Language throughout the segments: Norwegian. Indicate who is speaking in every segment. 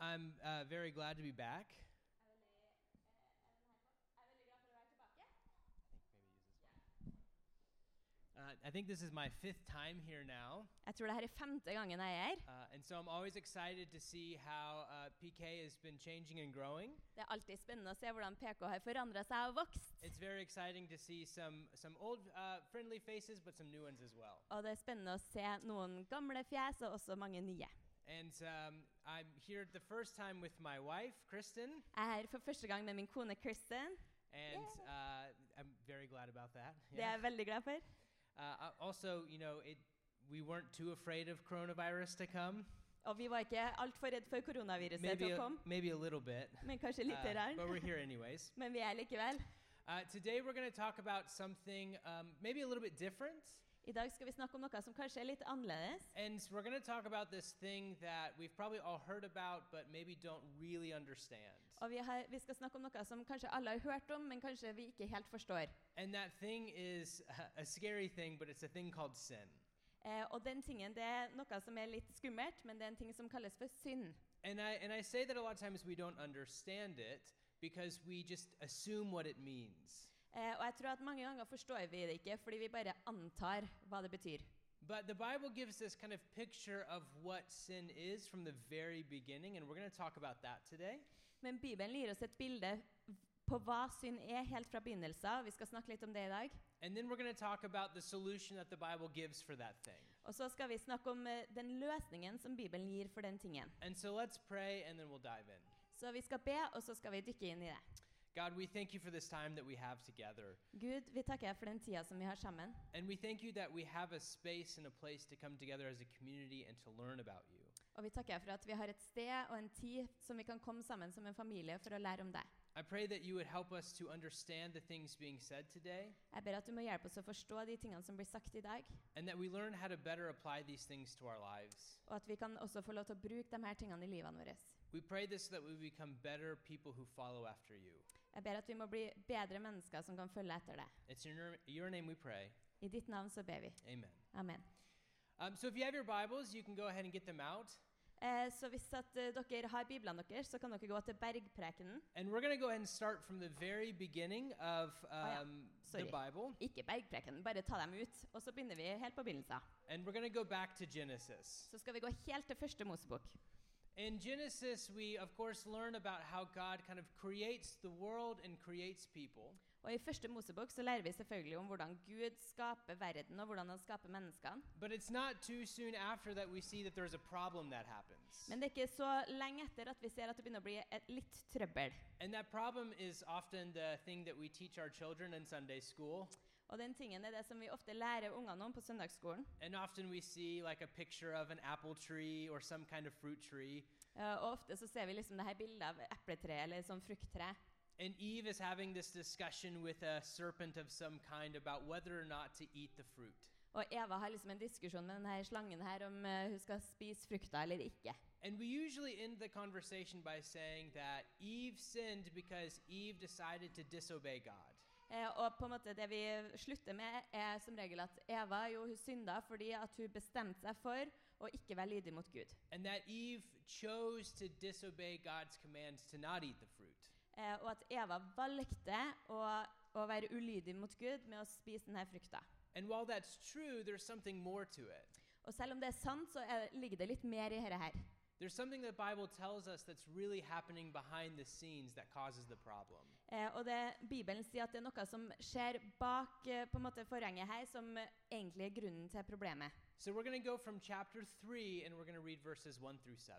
Speaker 1: I'm uh, very glad to be back. Uh, I think this is my fifth time here now,
Speaker 2: Jeg tror det her er femte gangen jeg er her.
Speaker 1: uh, and so I'm always excited to see how uh, PK has been changing and growing.
Speaker 2: Det er alltid spennende å se hvordan PK har forandra seg og vokst.
Speaker 1: It's very exciting to see some some old uh, friendly faces, but some new ones as well.
Speaker 2: Og det er spennende å se noen gamle fjes og også mange nye.
Speaker 1: And um, I'm here the first time with my wife, Kristen,
Speaker 2: Jeg er her for første gang med min kone Kristen.
Speaker 1: and uh, I'm very glad about that.
Speaker 2: Det er jeg veldig glad for.
Speaker 1: Uh, I- also, you know, it we weren't too afraid of coronavirus to come.
Speaker 2: Og vi var ikke altfor redd for koronaviruset
Speaker 1: Maybe
Speaker 2: til å
Speaker 1: a,
Speaker 2: komme,
Speaker 1: maybe a little bit,
Speaker 2: men kanskje litt
Speaker 1: uh, but
Speaker 2: redd.
Speaker 1: we're here anyways.
Speaker 2: Men vi er likevel.
Speaker 1: Uh, today we're going to talk about something um, maybe a little bit different,
Speaker 2: I dag skal vi snakke om noe som kanskje er litt annerledes.
Speaker 1: and s- we're going to talk about this thing that we've probably all heard about, but maybe don't really understand.
Speaker 2: Og vi, har, vi skal snakke om noe som kanskje alle har hørt om, men kanskje vi ikke helt forstår.
Speaker 1: And that thing is uh, a scary thing, but it's a thing called sin.
Speaker 2: Eh, og den tingen, det er noe som er litt skummelt, men det er en ting som kalles for synd.
Speaker 1: And I, and I say that a lot of times we don't understand it because we just assume what it means.
Speaker 2: Eh, og jeg tror at mange ganger forstår vi det ikke, fordi vi bare antar hva det betyr.
Speaker 1: But the Bible gives this kind of picture of what sin is from the very beginning, and we're going to talk about that today.
Speaker 2: Men Bibelen gir oss et bilde på hva synd er helt fra begynnelsen av. Vi skal snakke litt om det i dag.
Speaker 1: And then we're going to talk about the solution that the Bible gives for that thing.
Speaker 2: Og så skal vi snakke om eh, den løsningen som Bibelen gir for den tingen.
Speaker 1: And so let's pray, and then we'll dive in.
Speaker 2: Så vi skal be, og så skal vi dykke inn i det.
Speaker 1: God, we thank you for this time that we have together.
Speaker 2: Gud, vi takker deg for den tida som vi har sammen.
Speaker 1: And we thank you that we have a space and a place to come together as a community and to learn about you.
Speaker 2: Og vi takker deg for at vi har et sted og en tid som vi kan komme sammen som en familie for å lære om deg.
Speaker 1: I pray that you would help us to understand the things being said today
Speaker 2: Jeg ber at du må hjelpe oss å forstå de tingene som blir sagt i dag,
Speaker 1: and that we learn how to better apply these things to our lives.
Speaker 2: og at vi kan også få lov til å bruke de her tingene i livene våre.
Speaker 1: We pray this so that we become better people who follow after you.
Speaker 2: Jeg ber at vi må bli bedre mennesker som kan følge etter deg.
Speaker 1: It's in your, your name we pray.
Speaker 2: I ditt navn så ber vi.
Speaker 1: Amen.
Speaker 2: Amen.
Speaker 1: Um, so if you have your Bibles, you can go ahead and get them out.
Speaker 2: Eh, så hvis at eh, dere har biblene deres, så kan dere gå til Bergprekenen.
Speaker 1: And we're going to go ahead and start from the very beginning of
Speaker 2: Oh, yeah.
Speaker 1: um, the
Speaker 2: Sorry.
Speaker 1: Bible.
Speaker 2: Ikke Bergprekenen, bare ta dem ut. Og så begynner vi helt på begynnelsen.
Speaker 1: And we're going to go back to Genesis.
Speaker 2: Så skal vi gå helt til første Mosebok.
Speaker 1: In Genesis, we of course learn about how God kind of creates the world and creates people.
Speaker 2: Og i første Mosebok så lærer vi selvfølgelig om hvordan Gud skaper verden, og hvordan han skaper menneskene.
Speaker 1: But it's not too soon after that we see that there's a problem that happens.
Speaker 2: Men det er ikke så lenge etter at vi ser at det begynner å bli et litt trøbbel.
Speaker 1: And that problem is often the thing that we teach our children in Sunday school.
Speaker 2: Og den tingen er det som vi ofte lærer ungene om på søndagsskolen.
Speaker 1: And often we see like a picture of an apple tree or some kind of fruit tree.
Speaker 2: Eh, Og ofte så ser vi liksom det her bildet av epletre eller sånn frukttre.
Speaker 1: And Eve is having this discussion with a serpent of some kind about whether or not to eat the fruit.
Speaker 2: Og Eva har liksom en diskusjon med denne slangen her om eh, hun skal spise frukta eller ikke.
Speaker 1: And we usually end the conversation by saying that Eve sinned because Eve decided to disobey God.
Speaker 2: Eh, Og på en måte det vi slutter med, er som regel at Eva jo hun synda fordi at hun bestemte seg for å ikke være lydig mot Gud.
Speaker 1: And that Eve chose to disobey God's commands to not eat the fruit.
Speaker 2: Eh, Og at Eva valgte å, å være ulydig mot Gud med å spise denne frukta.
Speaker 1: And while that's true, there's something more to it.
Speaker 2: Og selv om det er sant, så er, ligger det litt mer i dette her.
Speaker 1: There's something the Bible tells us that's really happening behind the scenes that causes the problem.
Speaker 2: Eh, og det, Bibelen sier at det er noe som skjer bak eh, på en måte forhenget her, som eh, egentlig er grunnen til problemet.
Speaker 1: So we're going to go from chapter 3 and we're going to read verses 1 through 7.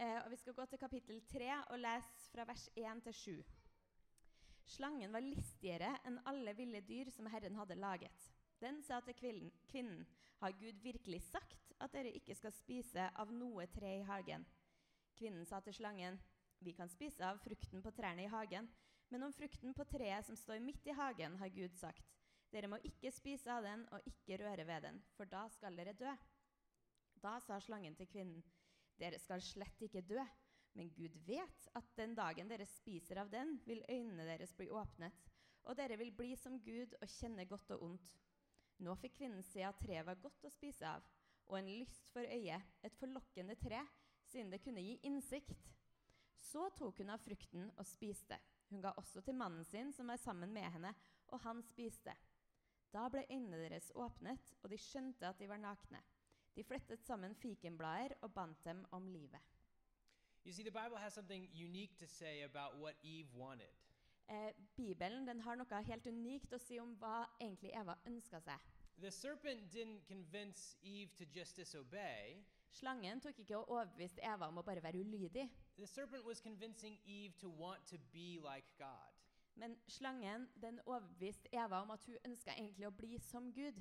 Speaker 2: Eh, og Vi skal gå til kapittel 3 og lese fra vers 1 til 7. Slangen var listigere enn alle ville dyr som Herren hadde laget. Den sa til kvinnen, kvinnen, har Gud virkelig sagt at dere ikke skal spise av noe tre i hagen? Kvinnen sa til slangen, vi kan spise av frukten på trærne i hagen, men om frukten på treet som står midt i hagen, har Gud sagt, dere må ikke spise av den og ikke røre ved den, for da skal dere dø. Da sa slangen til kvinnen, dere skal slett ikke dø, men Gud vet at den dagen dere spiser av den, vil øynene deres bli åpnet, og dere vil bli som Gud og kjenne godt og ondt. Nå fikk kvinnen se at treet var godt å spise av, og en lyst for øyet, et forlokkende tre, siden det kunne gi innsikt. Så tok hun av frukten og spiste. Hun ga også til mannen sin som var sammen med henne, og han spiste. Da ble øynene deres åpnet, og de skjønte at de var nakne. De flettet sammen fikenblader og bandt dem om livet.
Speaker 1: You see, the Bible has something unique to say about what Eve wanted.
Speaker 2: Eh, Bibelen den har noe helt unikt å si om hva egentlig Eva ønska seg.
Speaker 1: The serpent didn't convince Eve to just disobey,
Speaker 2: Slangen tok ikke og overbeviste Eva om å bare være ulydig,
Speaker 1: the serpent was convincing Eve to want to be like God.
Speaker 2: men slangen den overbeviste Eva om at hun ønska egentlig å bli som Gud.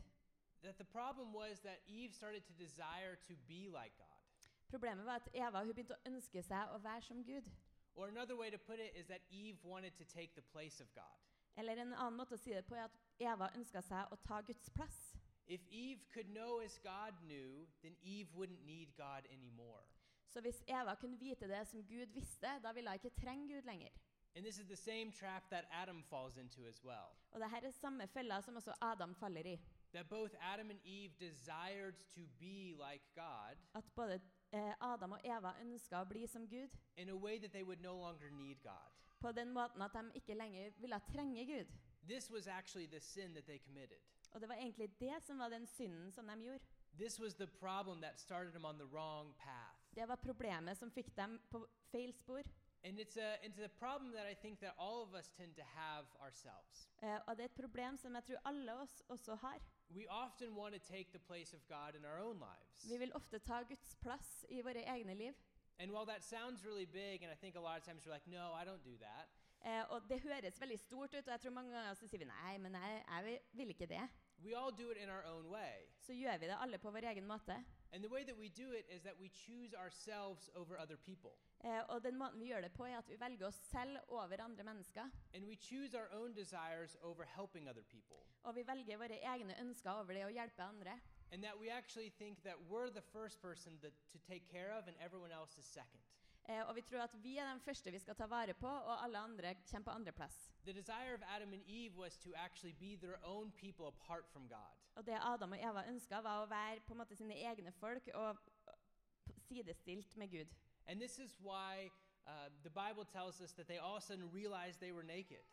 Speaker 1: That the problem was that Eve started to desire to be like God.
Speaker 2: Problemet var at Eva hun begynte å ønske seg å være som Gud.
Speaker 1: Or another way to put it is that Eve wanted to take the place of God.
Speaker 2: Eller en annen måte å si det på er at Eva ønska seg å ta Guds plass.
Speaker 1: If Eve could know as God knew, then Eve wouldn't need God anymore.
Speaker 2: Så hvis Eva kunne vite det som Gud visste, da ville hun ikke trenge Gud lenger.
Speaker 1: And this is the same trap that Adam falls into as well.
Speaker 2: Og dette er samme fella som også Adam faller i.
Speaker 1: That both Adam and Eve desired to be like God
Speaker 2: At både eh, Adam og Eva ønska å bli som Gud,
Speaker 1: in a way that they would no longer need God.
Speaker 2: på den måten at de ikke lenger ville trenge Gud.
Speaker 1: This was actually the sin that they committed.
Speaker 2: Og det var egentlig det som var den synden som de gjorde.
Speaker 1: This was the problem that started them on the wrong path.
Speaker 2: Det var problemet som fikk dem på feil spor.
Speaker 1: And it's a, it's a problem that I think that all of us tend to have ourselves.
Speaker 2: Eh, og det er et problem som jeg tror alle oss også har.
Speaker 1: We often want to take the place of God in our own lives.
Speaker 2: Vi vil ofte ta Guds plass i våre egne liv.
Speaker 1: And while that sounds really big, and I think a lot of times you're like, no, I don't do that,
Speaker 2: Eh, og det høres veldig stort ut, og jeg tror mange ganger så sier vi nei, men jeg, jeg vil- vil ikke det.
Speaker 1: we all do it in our own way.
Speaker 2: Så gjør vi det alle på vår egen måte.
Speaker 1: And the way that we do it is that we choose ourselves over other people.
Speaker 2: Eh, og den måten vi gjør det på, er at vi velger oss selv over andre mennesker.
Speaker 1: And we choose our own desires over helping other people.
Speaker 2: Og vi velger våre egne ønsker over det å hjelpe andre.
Speaker 1: And that we actually think that we're the first person that, to take care of and everyone else is second.
Speaker 2: Eh, og vi tror at vi er den første vi skal ta vare på, og alle andre kommer på andreplass.
Speaker 1: The desire of Adam and Eve was to actually be their own people apart from God.
Speaker 2: Og det Adam og Eva ønska, var å være på en måte sine egne folk og sidestilt med Gud.
Speaker 1: And this is why uh, the Bible tells us that they all of a sudden realized they were naked.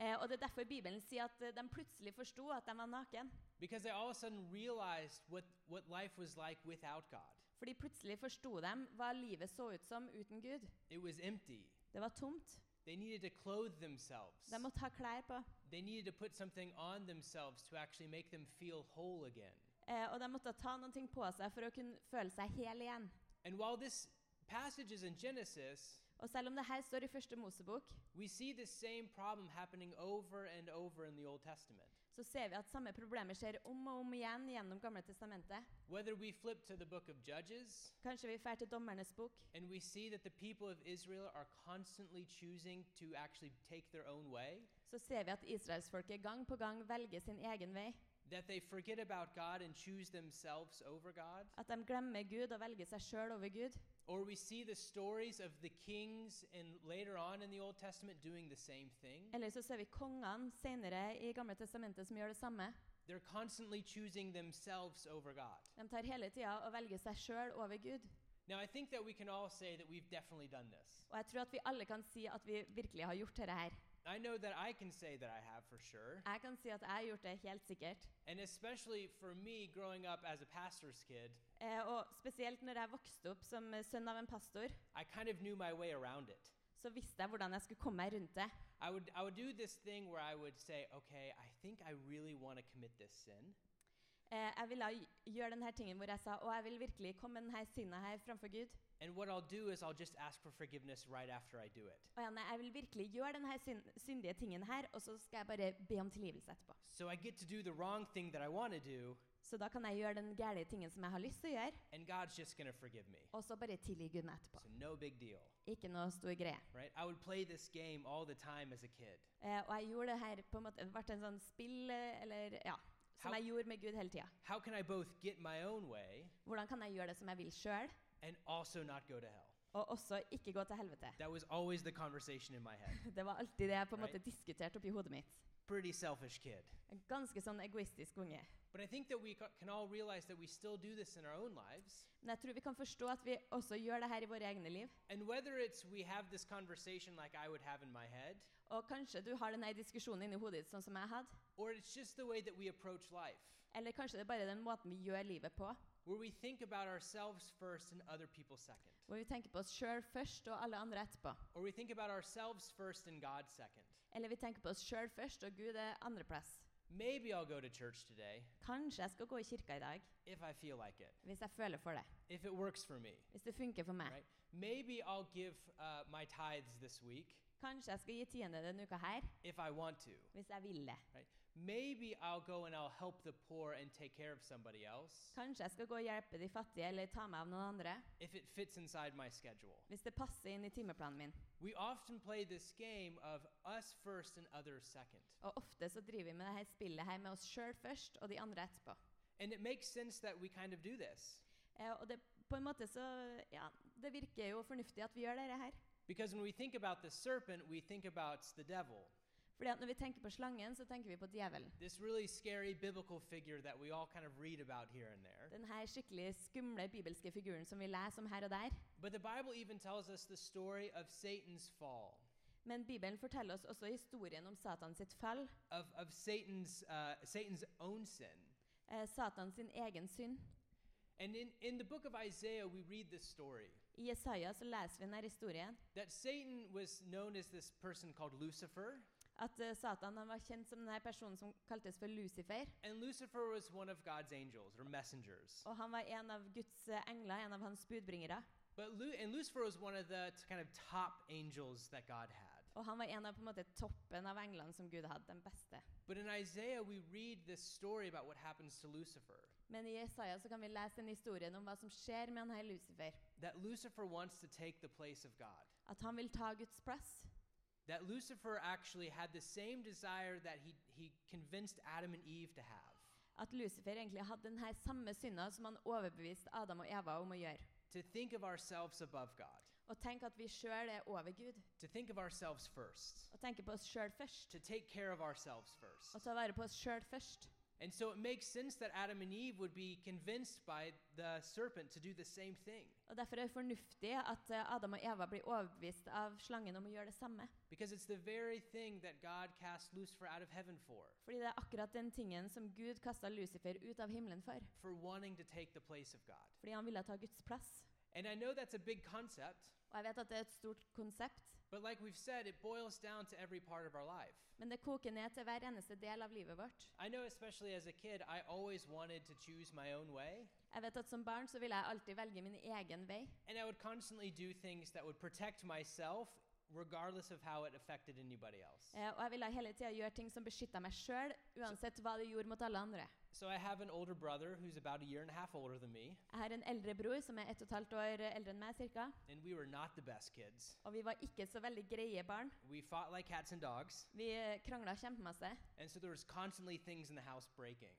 Speaker 2: Eh, og Det er derfor Bibelen sier at eh, de plutselig forsto at de var naken.
Speaker 1: Because they all of a sudden realized what, what life was like without God.
Speaker 2: Fordi plutselig forsto de hva livet så ut som uten Gud.
Speaker 1: It was empty.
Speaker 2: Det var tomt.
Speaker 1: They needed to clothe themselves.
Speaker 2: De måtte ha klær på.
Speaker 1: They needed to put something on themselves to actually make them feel whole again.
Speaker 2: Eh, og de måtte ta noe på seg for å kunne føle seg hel igjen.
Speaker 1: And while this passage is in Genesis,
Speaker 2: Og selv om det her står i første Mosebok,
Speaker 1: we see this same problem happening over and over in the Old Testament.
Speaker 2: så ser vi at samme problemer skjer om og om igjen gjennom Gamle testamentet.
Speaker 1: Whether we flip to the book of Judges
Speaker 2: Kanskje vi drar til Dommernes bok,
Speaker 1: and we see that the people of Israel are constantly choosing to actually take their own way,
Speaker 2: så ser vi at israelsfolket gang på gang velger sin egen vei.
Speaker 1: that they forget about God and choose themselves over God.
Speaker 2: At de glemmer Gud og velger seg sjøl over Gud.
Speaker 1: Or we see the stories of the kings and later on in the Old Testament doing the same thing.
Speaker 2: Eller så ser vi kongene senere i Gamle testamentet som gjør det samme.
Speaker 1: They're constantly choosing themselves over God.
Speaker 2: De tar hele tida og velger seg sjøl over Gud.
Speaker 1: Now, I think that we can all say that we've definitely done this.
Speaker 2: Og jeg tror at vi alle kan si at vi virkelig har gjort dette her.
Speaker 1: I know that I can say that I have for sure.
Speaker 2: Jeg kan si at jeg har gjort det helt sikkert.
Speaker 1: And especially for me growing up as a pastor's kid,
Speaker 2: Eh, og spesielt når jeg vokste opp som eh, sønn av en pastor,
Speaker 1: I kind of knew my way around it.
Speaker 2: så visste jeg hvordan jeg skulle komme meg rundt det.
Speaker 1: I would, I would do this thing where I would say, okay, I think I really want to commit this sin.
Speaker 2: Eh, jeg ville gj- gjøre denne tingen hvor jeg sa å, jeg vil virkelig komme med denne synda her framfor Gud.
Speaker 1: And what I'll do is I'll just ask for forgiveness right after I do it.
Speaker 2: Og Janne, jeg vil virkelig gjøre denne syn syndige tingen her, og så skal jeg bare be om tilgivelse etterpå.
Speaker 1: So I get to do the wrong thing that I want to do,
Speaker 2: Så da kan jeg gjøre den gærne tingen som jeg har lyst til å gjøre,
Speaker 1: and God's just going to forgive me.
Speaker 2: og så bare tilgi Gud meg etterpå.
Speaker 1: So no big deal,
Speaker 2: Ikke noe stor greie.
Speaker 1: right? I would play this game all the time as a kid.
Speaker 2: Eh, og jeg gjorde det her på en måte, det ble en sånn spill, eh, eller ja, som
Speaker 1: How-
Speaker 2: jeg gjorde med Gud hele tida.
Speaker 1: How can I both get my own way
Speaker 2: Hvordan kan jeg gjøre det som jeg vil sjøl,
Speaker 1: and also not go to hell?
Speaker 2: og også ikke gå til helvete.
Speaker 1: That was always the conversation in my head.
Speaker 2: Det var alltid det jeg på en måte
Speaker 1: Right.
Speaker 2: diskuterte oppi hodet mitt.
Speaker 1: Pretty selfish kid.
Speaker 2: En ganske sånn egoistisk unge.
Speaker 1: But I think that we ca- can all realize that we still do this in our own lives.
Speaker 2: Men jeg tror vi kan forstå at vi også gjør det her i våre egne liv.
Speaker 1: And whether it's we have this conversation like I would have in my head,
Speaker 2: Og kanskje du har denne diskusjonen inni hodet ditt, sånn som jeg hadde.
Speaker 1: or it's just the way that we approach life,
Speaker 2: Eller kanskje det er bare den måten vi gjør livet på.
Speaker 1: where we think about ourselves first and other people second,
Speaker 2: Hvor vi tenker på oss sjøl først og alle andre etterpå.
Speaker 1: or we think about ourselves first and God second.
Speaker 2: Eller vi tenker på oss sjøl først og Gud er andreplass.
Speaker 1: Maybe I'll go to church today
Speaker 2: Kanskje jeg skal gå i kirka i dag
Speaker 1: if I feel like it,
Speaker 2: hvis jeg føler for det.
Speaker 1: if it works for me.
Speaker 2: Hvis det funker for meg.
Speaker 1: Right. Maybe I'll give uh, my tithes this week
Speaker 2: Kanskje jeg skal gi tiende denne uka her
Speaker 1: if I want to.
Speaker 2: hvis jeg vil det.
Speaker 1: Maybe I'll go and I'll help the poor and take care of somebody else
Speaker 2: Kanskje jeg skal gå og hjelpe de fattige eller ta meg av noen andre
Speaker 1: if it fits inside my schedule.
Speaker 2: hvis det passer inn i timeplanen min.
Speaker 1: We often play this game of us first and others second.
Speaker 2: Og ofte så driver vi med dette spillet her med oss sjøl først og de andre etterpå.
Speaker 1: And it makes sense that we kind of do this
Speaker 2: Eh, og det, på en måte så Ja, det virker jo fornuftig at vi gjør dette her.
Speaker 1: because when we think about the serpent, we think about the devil,
Speaker 2: Fordi at når vi tenker på slangen, så tenker vi på djevelen.
Speaker 1: this really scary biblical figure that we all kind of read about here and there.
Speaker 2: Den her skikkelig skumle bibelske figuren som vi leser om her og der.
Speaker 1: But the Bible even tells us the story of Satan's fall,
Speaker 2: Men Bibelen forteller oss også historien om Satan sitt fall,
Speaker 1: of, of Satan's, uh, Satan's own sin.
Speaker 2: eh, Satan sin egen synd.
Speaker 1: And in, in the book of Isaiah, we read this story
Speaker 2: I Jesaja så leser vi denne historien
Speaker 1: that Satan was known as this person called Lucifer,
Speaker 2: at eh, Satan han var kjent som denne personen som kaltes for Lucifer.
Speaker 1: and Lucifer was one of God's angels or messengers.
Speaker 2: Og han var en av Guds eh, engler, en av hans budbringere.
Speaker 1: But Lu- and Lucifer was one of the t- kind of top angels that God had.
Speaker 2: Og han var en av på en måte toppen av englene som Gud hadde, den beste.
Speaker 1: But in Isaiah, we read this story about what happens to Lucifer.
Speaker 2: Men i Jesaja så kan vi lese den historien om hva som skjer med denne Lucifer.
Speaker 1: That Lucifer wants to take the place of God.
Speaker 2: At han vil ta Guds plass.
Speaker 1: That Lucifer actually had the same desire that he, he convinced Adam and Eve to have
Speaker 2: At Lucifer egentlig hadde den her samme synda som han overbeviste Adam og Eva om å gjøre.
Speaker 1: to think of ourselves above God,
Speaker 2: Og tenk at vi sjøl er over Gud.
Speaker 1: to think of ourselves first,
Speaker 2: Og tenke på oss sjøl først.
Speaker 1: to take care of ourselves
Speaker 2: Og
Speaker 1: first.
Speaker 2: ta vare på oss sjøl først.
Speaker 1: And so it makes sense that Adam and Eve would be convinced by the serpent to do the same thing.
Speaker 2: Og Derfor er det fornuftig at eh, Adam og Eva blir overbevist av slangen om å gjøre det samme.
Speaker 1: Because it's the very thing that God cast Lucifer out of heaven for,
Speaker 2: Fordi det er akkurat den tingen som Gud kasta Lucifer ut av himmelen for.
Speaker 1: for wanting to take the place of God.
Speaker 2: Fordi han ville ta Guds plass.
Speaker 1: And I know that's a big concept,
Speaker 2: Og jeg vet at det er et stort konsept,
Speaker 1: but like we've said, it boils down to every part of our life.
Speaker 2: men det koker ned til hver eneste del av livet vårt.
Speaker 1: I know, especially as a kid, I always wanted to choose my own way,
Speaker 2: Jeg vet at Som barn så ville jeg alltid velge min egen vei.
Speaker 1: and I would constantly do things that would protect myself, regardless of how it affected anybody else.
Speaker 2: Eh, og jeg ville hele tida gjøre ting som beskytta meg sjøl, uansett hva det gjorde mot alle andre.
Speaker 1: So I have an older brother who's about a year and a half older than me,
Speaker 2: Jeg har en eldre bror som er ett og et halvt år eh, eldre enn meg, cirka.
Speaker 1: and we were not the best kids.
Speaker 2: Og vi var ikke så veldig greie barn.
Speaker 1: We fought like cats and dogs,
Speaker 2: Vi eh, krangla kjempemasse.
Speaker 1: and so there was constantly things in the house breaking.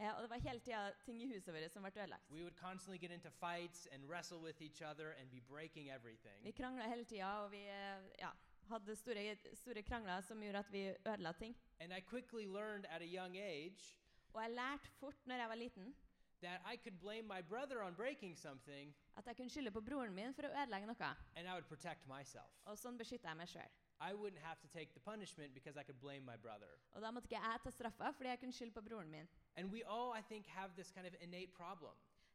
Speaker 2: Eh, og det var hele tida ting i huset vårt som ble ødelagt.
Speaker 1: We would constantly get into fights and wrestle with each other and be breaking everything.
Speaker 2: Vi krangla hele tida, og vi eh, ja, hadde store, store krangler som gjorde at vi ødela ting.
Speaker 1: And I quickly learned at a young age
Speaker 2: Og jeg lærte fort når jeg var liten,
Speaker 1: that I could blame my brother on breaking something
Speaker 2: at jeg kunne skylde på broren min for å ødelegge noe.
Speaker 1: and I would protect myself.
Speaker 2: Og sånn beskytta jeg meg sjøl.
Speaker 1: I wouldn't have to take the punishment because I could blame my brother.
Speaker 2: Og da måtte ikke jeg ta straffa fordi jeg kunne skylde på broren min.
Speaker 1: And we all, I think, have this kind of innate problem.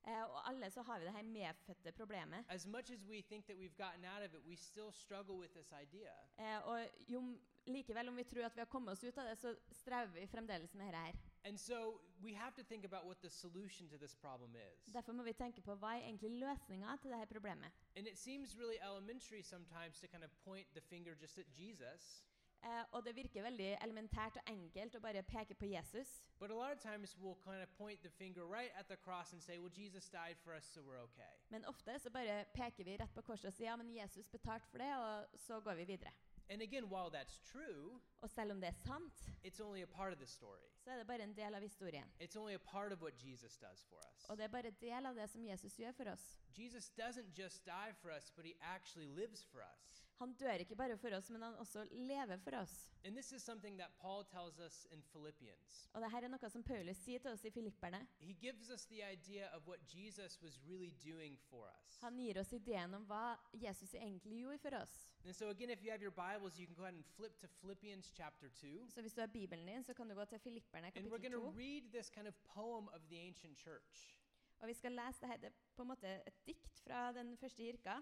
Speaker 2: Eh, og alle så har vi det her medfødte problemet.
Speaker 1: As much as we think that we've gotten out of it, we still struggle with this idea
Speaker 2: Eh, og jo, m- likevel, om vi tror at vi har kommet oss ut av det, så strever vi fremdeles med dette her.
Speaker 1: And so we have to think about what the solution to this problem is.
Speaker 2: Derfor må vi tenke på hva er egentlig løsninga til dette problemet.
Speaker 1: And it seems really elementary sometimes to kind of point the finger just at Jesus.
Speaker 2: Eh, og det virker veldig elementært og enkelt å bare peke på Jesus.
Speaker 1: But a lot of times we'll kind of point the finger right at the cross and say, well, Jesus died for us, so we're okay.
Speaker 2: Men ofte så bare peker vi rett på korset og sier ja, men Jesus betalte for det, og så går vi videre.
Speaker 1: And again, while that's true,
Speaker 2: Og selv om det er sant,
Speaker 1: it's only a part of the story.
Speaker 2: så er det bare en del av historien.
Speaker 1: It's only a part of what Jesus does for
Speaker 2: Og
Speaker 1: us.
Speaker 2: det er bare en del av det som Jesus gjør for oss.
Speaker 1: Jesus doesn't just die for us, but he actually lives for us.
Speaker 2: Han dør ikke bare for oss, men han også lever for oss.
Speaker 1: And this is something that Paul tells us in Philippians.
Speaker 2: Og dette er noe som Paulus sier til oss i Filipperne.
Speaker 1: He gives us the idea of what Jesus was really doing for us.
Speaker 2: Han gir oss ideen om hva Jesus egentlig gjorde for oss.
Speaker 1: And so, again, if you have your Bibles, you can go ahead and flip to Philippians chapter 2.
Speaker 2: Så hvis du har Bibelen din, så kan du gå til Filipperne
Speaker 1: And we're
Speaker 2: kapittel
Speaker 1: going to
Speaker 2: 2.
Speaker 1: read this kind of poem of the ancient church.
Speaker 2: Og vi skal lese dette. Det er på en måte et dikt fra den første kirka.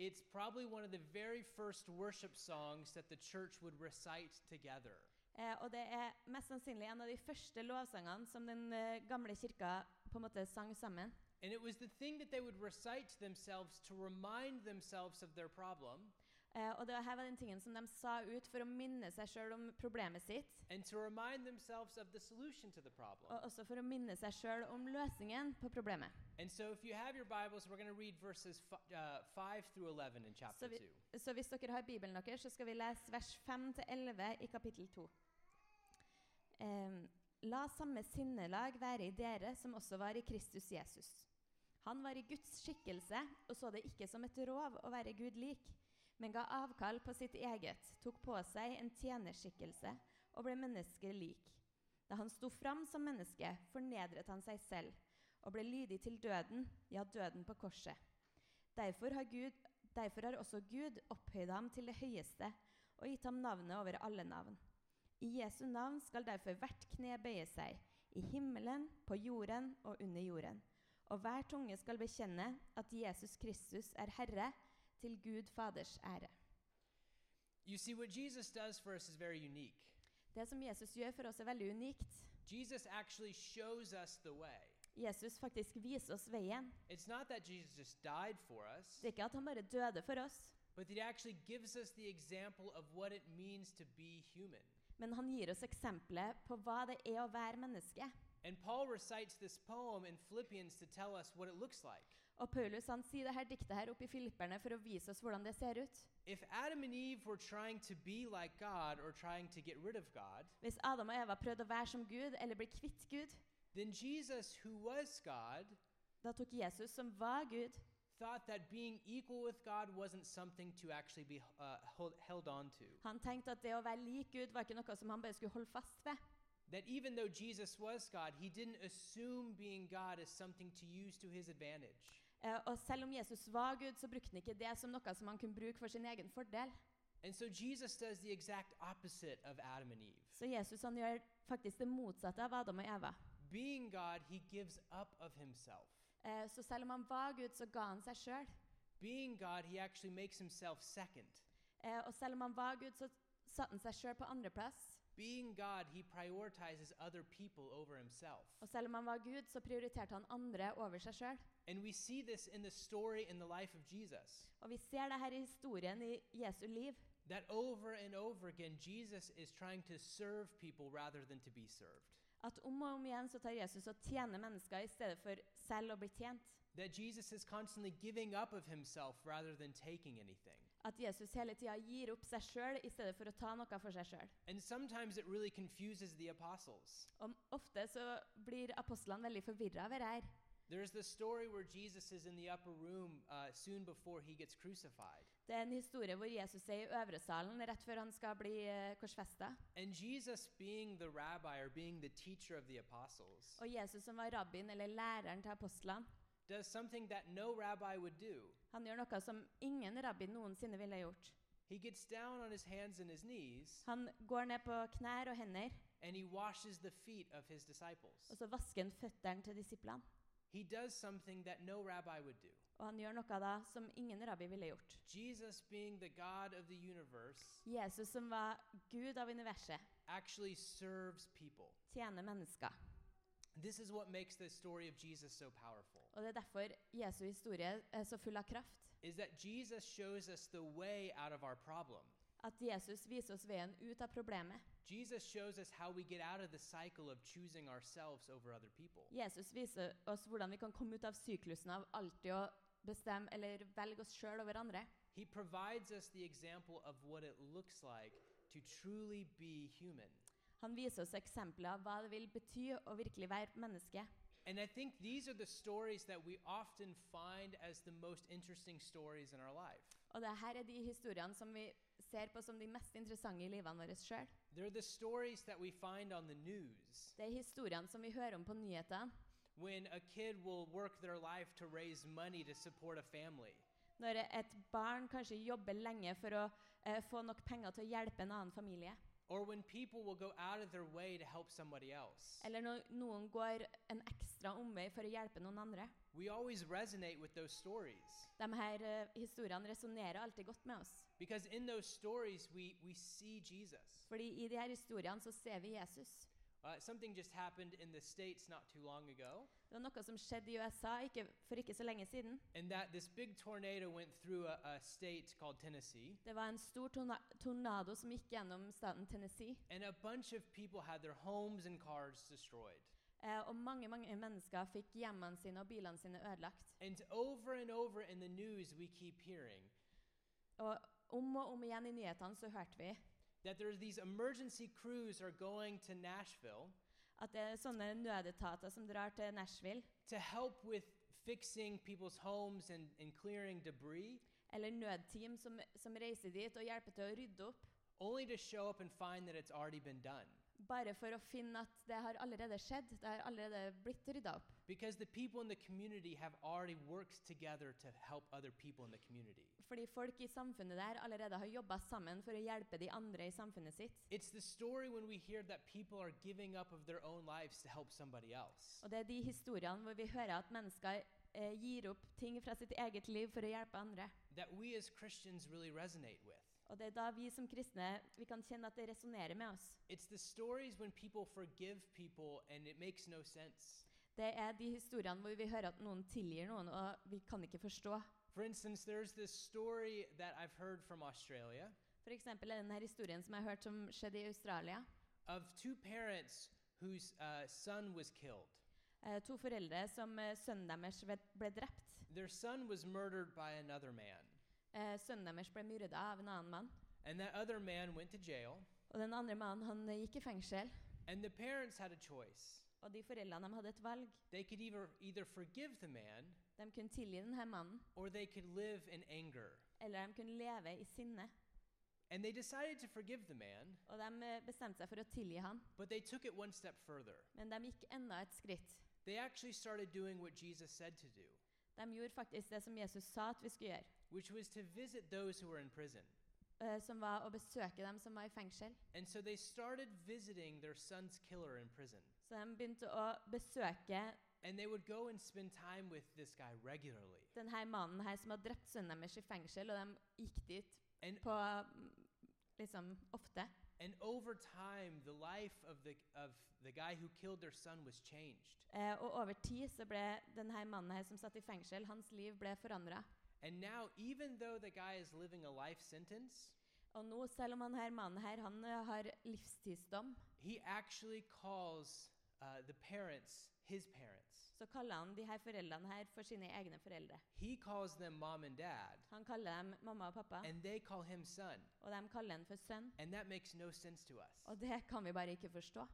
Speaker 1: It's probably one of the very first worship songs that the church would recite together.
Speaker 2: Eh, og det er mest sannsynlig en av de første lovsangene som den eh, gamle kirka på en måte sang sammen.
Speaker 1: And it was the thing that they would recite to themselves to remind themselves of their problem
Speaker 2: Eh, og det var- her var den tingen som de sa ut for å minne seg sjøl om problemet sitt.
Speaker 1: and to remind themselves of the solution to the problem.
Speaker 2: Og også for å minne seg sjøl om løsningen på problemet.
Speaker 1: And so, if you have your Bibles, we're going to read verses f- uh, 5 through 11 in chapter
Speaker 2: So we-
Speaker 1: 2.
Speaker 2: Så hvis dere har Bibelen deres, så skal vi lese vers 5-11 i kapittel 2. Ehm, La samme sinnelag være i dere som også var i Kristus Jesus. Han var i Guds skikkelse og så det ikke som et rov å være Gud lik, men ga avkall på sitt eget, tok på seg en tjenerskikkelse og ble menneske lik. Da han sto fram som menneske, fornedret han seg selv og ble lydig til døden, ja, døden på korset. Derfor har Gud Derfor har også Gud opphøyd ham til det høyeste og gitt ham navnet over alle navn. I Jesu navn skal derfor hvert kne bøye seg, i himmelen, på jorden og under jorden. Og hver tunge skal bekjenne at Jesus Kristus er Herre, til Gud Faders ære.
Speaker 1: You see, what Jesus does for us is very unique.
Speaker 2: Det som Jesus gjør for oss, er veldig unikt.
Speaker 1: Jesus actually shows us the way.
Speaker 2: Jesus faktisk viser oss veien.
Speaker 1: It's not that Jesus just died for us,
Speaker 2: Det er ikke at han bare døde for oss,
Speaker 1: but that he actually gives us the example of what it means to be human.
Speaker 2: men han gir oss eksempelet på hva det er å være menneske.
Speaker 1: And Paul recites this poem in Philippians to tell us what it looks like.
Speaker 2: Og Paulus han sier det her diktet her oppe i Filipperne for å vise oss hvordan det ser ut.
Speaker 1: If Adam and Eve were trying to be like God or trying to get rid of God,
Speaker 2: Hvis Adam og Eva prøvde å være som Gud eller bli kvitt Gud,
Speaker 1: then Jesus, who was God,
Speaker 2: da tok Jesus, som var Gud,
Speaker 1: thought that being equal with God wasn't something to actually be uh, hold, held on to.
Speaker 2: han tenkte at det å være lik Gud var ikke noe som han bare skulle holde fast ved.
Speaker 1: That even though Jesus was God, he didn't assume being God as something to use to his advantage.
Speaker 2: Eh, og selv om Jesus var Gud, så brukte han ikke det som noe som han kunne bruke for sin egen fordel.
Speaker 1: And so Jesus does the exact opposite of Adam and Eve.
Speaker 2: Så Jesus han gjør faktisk det motsatte av Adam og Eva.
Speaker 1: Being God, he gives up of himself.
Speaker 2: Eh, så selv om han var Gud, så ga han seg sjøl.
Speaker 1: Being God, he actually makes himself second.
Speaker 2: Eh, og selv om han var Gud, så satte han seg sjøl på andreplass.
Speaker 1: Being God, he prioritizes other people over himself.
Speaker 2: Og selv om han var Gud, så prioriterte han andre over seg sjøl.
Speaker 1: And we see this in the story in the life of Jesus.
Speaker 2: Og vi ser det her i historien i Jesu liv.
Speaker 1: That over and over again, Jesus is trying to serve people rather than to be served.
Speaker 2: At om og om igjen så tar Jesus og tjener mennesker i stedet for selv å bli tjent.
Speaker 1: That Jesus is constantly giving up of himself rather than taking anything.
Speaker 2: At Jesus hele tida gir opp seg sjøl i stedet for å ta noe for seg sjøl.
Speaker 1: And sometimes it really confuses the apostles.
Speaker 2: Ofte så blir apostlene veldig forvirra over det her.
Speaker 1: There's the story where Jesus is in the upper room uh, soon before he gets crucified.
Speaker 2: Det er en historie hvor Jesus er i øvre salen rett før han skal bli eh, korsfesta.
Speaker 1: And Jesus, being the rabbi or being the teacher of the apostles,
Speaker 2: Og Jesus, som var rabbien eller læreren til apostlene,
Speaker 1: does something that no rabbi would do.
Speaker 2: han gjør noe som ingen rabbi noensinne ville gjort.
Speaker 1: He gets down on his hands and his knees
Speaker 2: Han går ned på knær og hender,
Speaker 1: and he washes the feet of his disciples.
Speaker 2: og så vasker han føttene til disiplene.
Speaker 1: He does something that no rabbi would do.
Speaker 2: Og han gjør noe da som ingen rabbi ville gjort.
Speaker 1: Jesus, being the God of the universe,
Speaker 2: Jesus som var Gud av universet,
Speaker 1: actually serves people.
Speaker 2: tjener mennesker.
Speaker 1: This is what makes the story of Jesus so powerful.
Speaker 2: Og det er derfor Jesu historie er så full av kraft.
Speaker 1: Is that Jesus shows us the way out of our problem.
Speaker 2: At Jesus viser oss veien ut av problemet.
Speaker 1: Jesus shows us how we get out of the cycle of choosing ourselves over other people.
Speaker 2: Jesus viser oss hvordan vi kan komme ut av syklusen av alltid å bestemme eller velge oss sjøl over andre.
Speaker 1: He provides us the example of what it looks like to truly be human.
Speaker 2: Han viser oss eksempler av hva det vil bety å virkelig være menneske.
Speaker 1: And I think these are the stories that we often find as the most interesting stories in our life.
Speaker 2: Og det her er de historiene som vi ser på som de mest interessante i livene våre sjøl.
Speaker 1: They're the stories that we find on the news
Speaker 2: Det er historiene som vi hører om på nyhetene.
Speaker 1: when a kid will work their life to raise money to support a family,
Speaker 2: Når et barn kanskje jobber lenge for å eh, få nok penger til å hjelpe en annen familie.
Speaker 1: or when people will go out of their way to help somebody else.
Speaker 2: Eller når noen går en ekstra omvei for å hjelpe noen andre.
Speaker 1: We always resonate with those stories
Speaker 2: De her eh, historiene resonnerer alltid godt med oss.
Speaker 1: because in those stories we, we see Jesus.
Speaker 2: Fordi i de her historiene så ser vi Jesus.
Speaker 1: Uh, something just happened in the States not too long ago,
Speaker 2: Det var noe som skjedde i USA ikke, for ikke så lenge siden.
Speaker 1: and that this big tornado went through a, a state called Tennessee,
Speaker 2: Det var en stor torna tornado som gikk gjennom staten Tennessee.
Speaker 1: and a bunch of people had their homes and cars destroyed.
Speaker 2: Eh, og mange mange mennesker fikk hjemmene sine og bilene sine ødelagt.
Speaker 1: And over and over in the news, we keep hearing
Speaker 2: Og om og om igjen i nyhetene så hørte vi
Speaker 1: that there's these emergency crews are going to Nashville
Speaker 2: at det er sånne nødetater som drar til Nashville,
Speaker 1: to help with fixing people's homes and, and clearing debris,
Speaker 2: eller nødteam som, som reiser dit og hjelper til å rydde opp,
Speaker 1: only to show up and find that it's already been done.
Speaker 2: bare for å finne at det har allerede skjedd, det har allerede blitt rydda opp.
Speaker 1: Because the people in the community have already worked together to help other people in the community.
Speaker 2: Fordi folk i samfunnet der allerede har jobba sammen for å hjelpe de andre i samfunnet sitt.
Speaker 1: It's the story when we hear that people are giving up of their own lives to help somebody else.
Speaker 2: Og det er de historiene hvor vi hører at mennesker eh, gir opp ting fra sitt eget liv for å hjelpe andre.
Speaker 1: That we as Christians really resonate with.
Speaker 2: Og det er da vi som kristne vi kan kjenne at det resonnerer med oss.
Speaker 1: It's the stories when people forgive people and it makes no sense.
Speaker 2: Det er de historiene hvor vi hører at noen tilgir noen, og vi kan ikke forstå.
Speaker 1: For instance, there's this story that I've heard from Australia
Speaker 2: F.eks. denne historien som jeg har hørt som skjedde i Australia.
Speaker 1: of two parents whose uh, son was killed.
Speaker 2: Eh, to foreldre som eh, sønnen deres ble, ble drept.
Speaker 1: Their son was murdered by another man,
Speaker 2: Eh, sønnen deres ble myrda av en annen mann.
Speaker 1: and that other man went to jail.
Speaker 2: Og den andre mannen han eh, gikk i fengsel.
Speaker 1: And the parents had a choice.
Speaker 2: Og de foreldrene de hadde et valg.
Speaker 1: They could either, either forgive the man
Speaker 2: De kunne tilgi denne mannen,
Speaker 1: or they could live in anger.
Speaker 2: eller de kunne leve i sinne.
Speaker 1: And they decided to forgive the man,
Speaker 2: Og de eh, bestemte seg for å tilgi han,
Speaker 1: but they took it one step further.
Speaker 2: men de gikk enda et skritt.
Speaker 1: They actually started doing what Jesus said to do,
Speaker 2: De gjorde faktisk det som Jesus sa at vi skulle gjøre,
Speaker 1: which was to visit those who were in prison.
Speaker 2: eh, som var å besøke dem som var i fengsel.
Speaker 1: And so they started visiting their son's killer in prison.
Speaker 2: Så de begynte å besøke
Speaker 1: And they would go and spend time with this guy regularly.
Speaker 2: denne mannen her som hadde drept sønnen deres i fengsel, og de gikk dit
Speaker 1: En-
Speaker 2: på mm, liksom ofte.
Speaker 1: And over time, the life of the, of the guy who killed their son was changed.
Speaker 2: Eh, og over tid så ble denne mannen her som satt i fengsel, hans liv ble forandra.
Speaker 1: And now, even though the guy is living a life sentence,
Speaker 2: Og nå, selv om han her mannen her, han eh, har livstidsdom,
Speaker 1: he actually calls uh, the parents his parents.
Speaker 2: så kaller han de her foreldrene her for sine egne foreldre.
Speaker 1: He calls them mom and dad,
Speaker 2: Han kaller dem mamma og pappa,
Speaker 1: and they call him son.
Speaker 2: og de kaller han for sønn.
Speaker 1: And that makes no sense to us.
Speaker 2: Og det kan vi bare ikke forstå.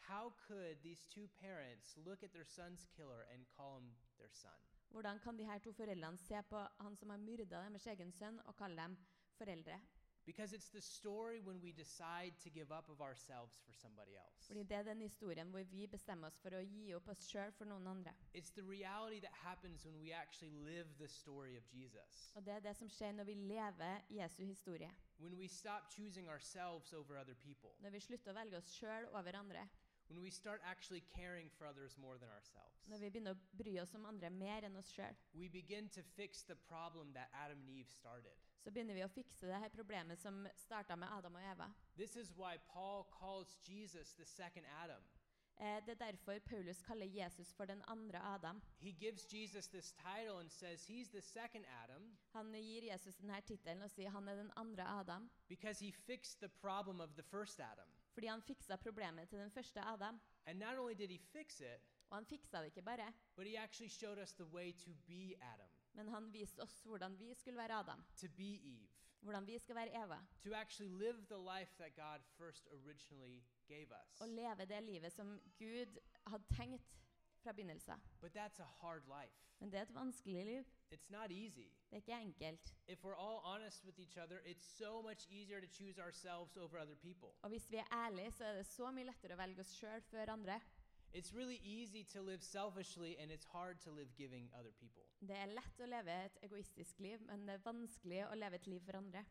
Speaker 1: How could these two parents look at their son's killer and call him their son?
Speaker 2: Hvordan kan de her to foreldrene se på han som har myrda deres egen sønn, og kalle dem foreldre?
Speaker 1: Because it's the story when we decide to give up of ourselves for somebody else.
Speaker 2: Fordi det er den historien hvor vi bestemmer oss for å gi opp oss sjøl for noen andre.
Speaker 1: It's the reality that happens when we actually live the story of Jesus.
Speaker 2: Og det er det som skjer når vi lever Jesu historie.
Speaker 1: When we stop choosing ourselves over other people.
Speaker 2: Når vi slutter å velge oss sjøl over andre.
Speaker 1: When we start actually caring for others more than
Speaker 2: Når
Speaker 1: ourselves.
Speaker 2: vi begynner å bry oss om andre mer enn oss sjøl.
Speaker 1: We begin to fix the problem that Adam and Eve started.
Speaker 2: Så begynner vi å fikse det her problemet som starta med Adam og Eva.
Speaker 1: This is why Paul calls Jesus the second Adam.
Speaker 2: Eh, det er derfor Paulus kaller Jesus for den andre Adam.
Speaker 1: He gives Jesus this title and says he's the second Adam
Speaker 2: Han gir Jesus denne tittelen og sier han er den andre Adam.
Speaker 1: because he fixed the problem of the first Adam.
Speaker 2: Fordi han fiksa problemet til den første Adam.
Speaker 1: And not only did he fix it,
Speaker 2: Og han fiksa det ikke bare,
Speaker 1: but he actually showed us the way to be Adam.
Speaker 2: Men han viste oss hvordan vi skulle være Adam,
Speaker 1: to be Eve,
Speaker 2: hvordan vi skal være Eva,
Speaker 1: to actually live the life that God first originally gave us.
Speaker 2: og leve det livet som Gud hadde tenkt fra begynnelsen.
Speaker 1: But that's a hard life.
Speaker 2: Men det er et vanskelig liv.
Speaker 1: It's not easy.
Speaker 2: Det er ikke enkelt.
Speaker 1: If we're all honest with each other, it's so much easier to choose ourselves over other people.
Speaker 2: Og hvis vi er ærlige, så er det så mye lettere å velge oss sjøl før andre.
Speaker 1: It's really easy to live selfishly, and it's hard to live giving other people.
Speaker 2: Det er lett å leve et egoistisk liv, men det er vanskelig å leve et liv for andre.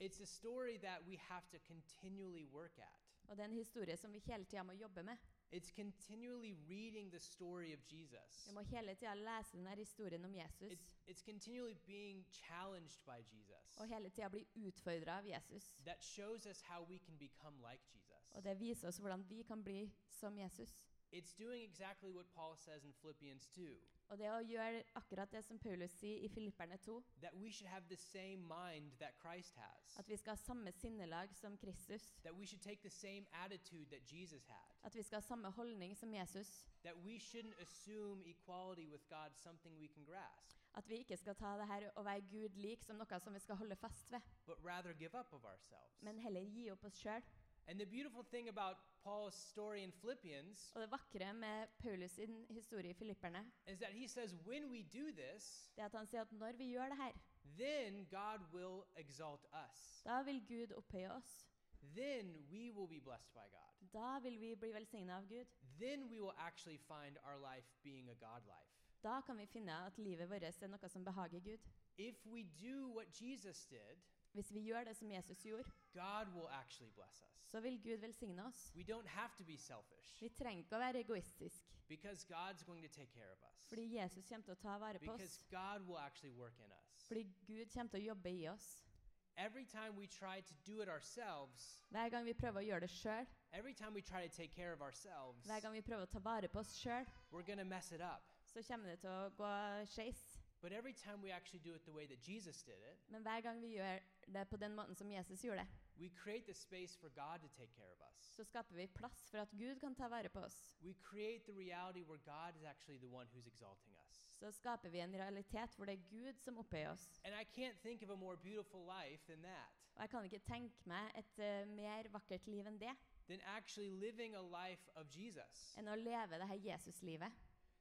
Speaker 1: It's a story that we have to continually work at.
Speaker 2: Og det er en historie som vi hele tida må jobbe med.
Speaker 1: It's continually reading the story of Jesus.
Speaker 2: Vi må hele tida lese denne historien om Jesus,
Speaker 1: It's, it's continually being challenged by Jesus.
Speaker 2: og hele tida bli utfordra av Jesus.
Speaker 1: That shows us how we can become like Jesus.
Speaker 2: Og det viser oss hvordan vi kan bli som Jesus.
Speaker 1: It's doing exactly what Paul says in Philippians 2
Speaker 2: Og det å gjøre akkurat det som Paulus sier i Filipperne 2,
Speaker 1: that we should have the same mind that Christ has,
Speaker 2: at vi skal ha samme sinnelag som Kristus,
Speaker 1: that we should take the same attitude that Jesus had,
Speaker 2: at vi skal ha samme holdning som Jesus,
Speaker 1: that we shouldn't assume equality with God something we can grasp,
Speaker 2: at vi ikke skal ta det her å være Gud lik som noe som vi skal holde fast ved,
Speaker 1: but rather give up of ourselves.
Speaker 2: men heller gi opp oss sjøl.
Speaker 1: And the beautiful thing about Paul's story in Philippians
Speaker 2: Og det vakre med Paulus sin historie i Filipperne,
Speaker 1: is that he says, when we do this,
Speaker 2: det er at han sier at når vi gjør det her,
Speaker 1: then God will exalt us.
Speaker 2: da vil Gud opphøye oss.
Speaker 1: Then we will be blessed by God.
Speaker 2: Da vil vi bli velsigna av Gud.
Speaker 1: Then we will actually find our life being a God life.
Speaker 2: Da kan vi finne at livet vårt er noe som behager Gud.
Speaker 1: If we do what Jesus did,
Speaker 2: Hvis vi gjør det som Jesus gjorde,
Speaker 1: God will actually bless us.
Speaker 2: så vil Gud velsigne oss.
Speaker 1: We don't have to be selfish
Speaker 2: Vi trenger ikke å være egoistisk,
Speaker 1: because God's going to take care of us.
Speaker 2: fordi Jesus kommer til å ta vare på oss.
Speaker 1: Because God will actually work in us.
Speaker 2: Fordi Gud kommer til å jobbe i oss.
Speaker 1: Every time we try to do it ourselves,
Speaker 2: Hver gang vi prøver å gjøre det sjøl,
Speaker 1: every time we try to take care of ourselves,
Speaker 2: hver gang vi prøver å ta vare på oss sjøl,
Speaker 1: we're going to mess it up.
Speaker 2: så kommer det til å gå skeis.
Speaker 1: But every time we actually do it the way that Jesus did it,
Speaker 2: Men hver gang vi gjør det på den måten som Jesus gjorde det,
Speaker 1: we create the space for God to take care of us.
Speaker 2: så skaper vi plass for at Gud kan ta vare på oss.
Speaker 1: We create the reality where God is actually the one who's exalting us.
Speaker 2: Så skaper vi en realitet hvor det er Gud som opphøyer oss.
Speaker 1: And I can't think of a more beautiful life than that,
Speaker 2: Og jeg kan ikke tenke meg et eh, mer vakkert liv enn det,
Speaker 1: than actually living a life of Jesus.
Speaker 2: enn å leve det her Jesus-livet.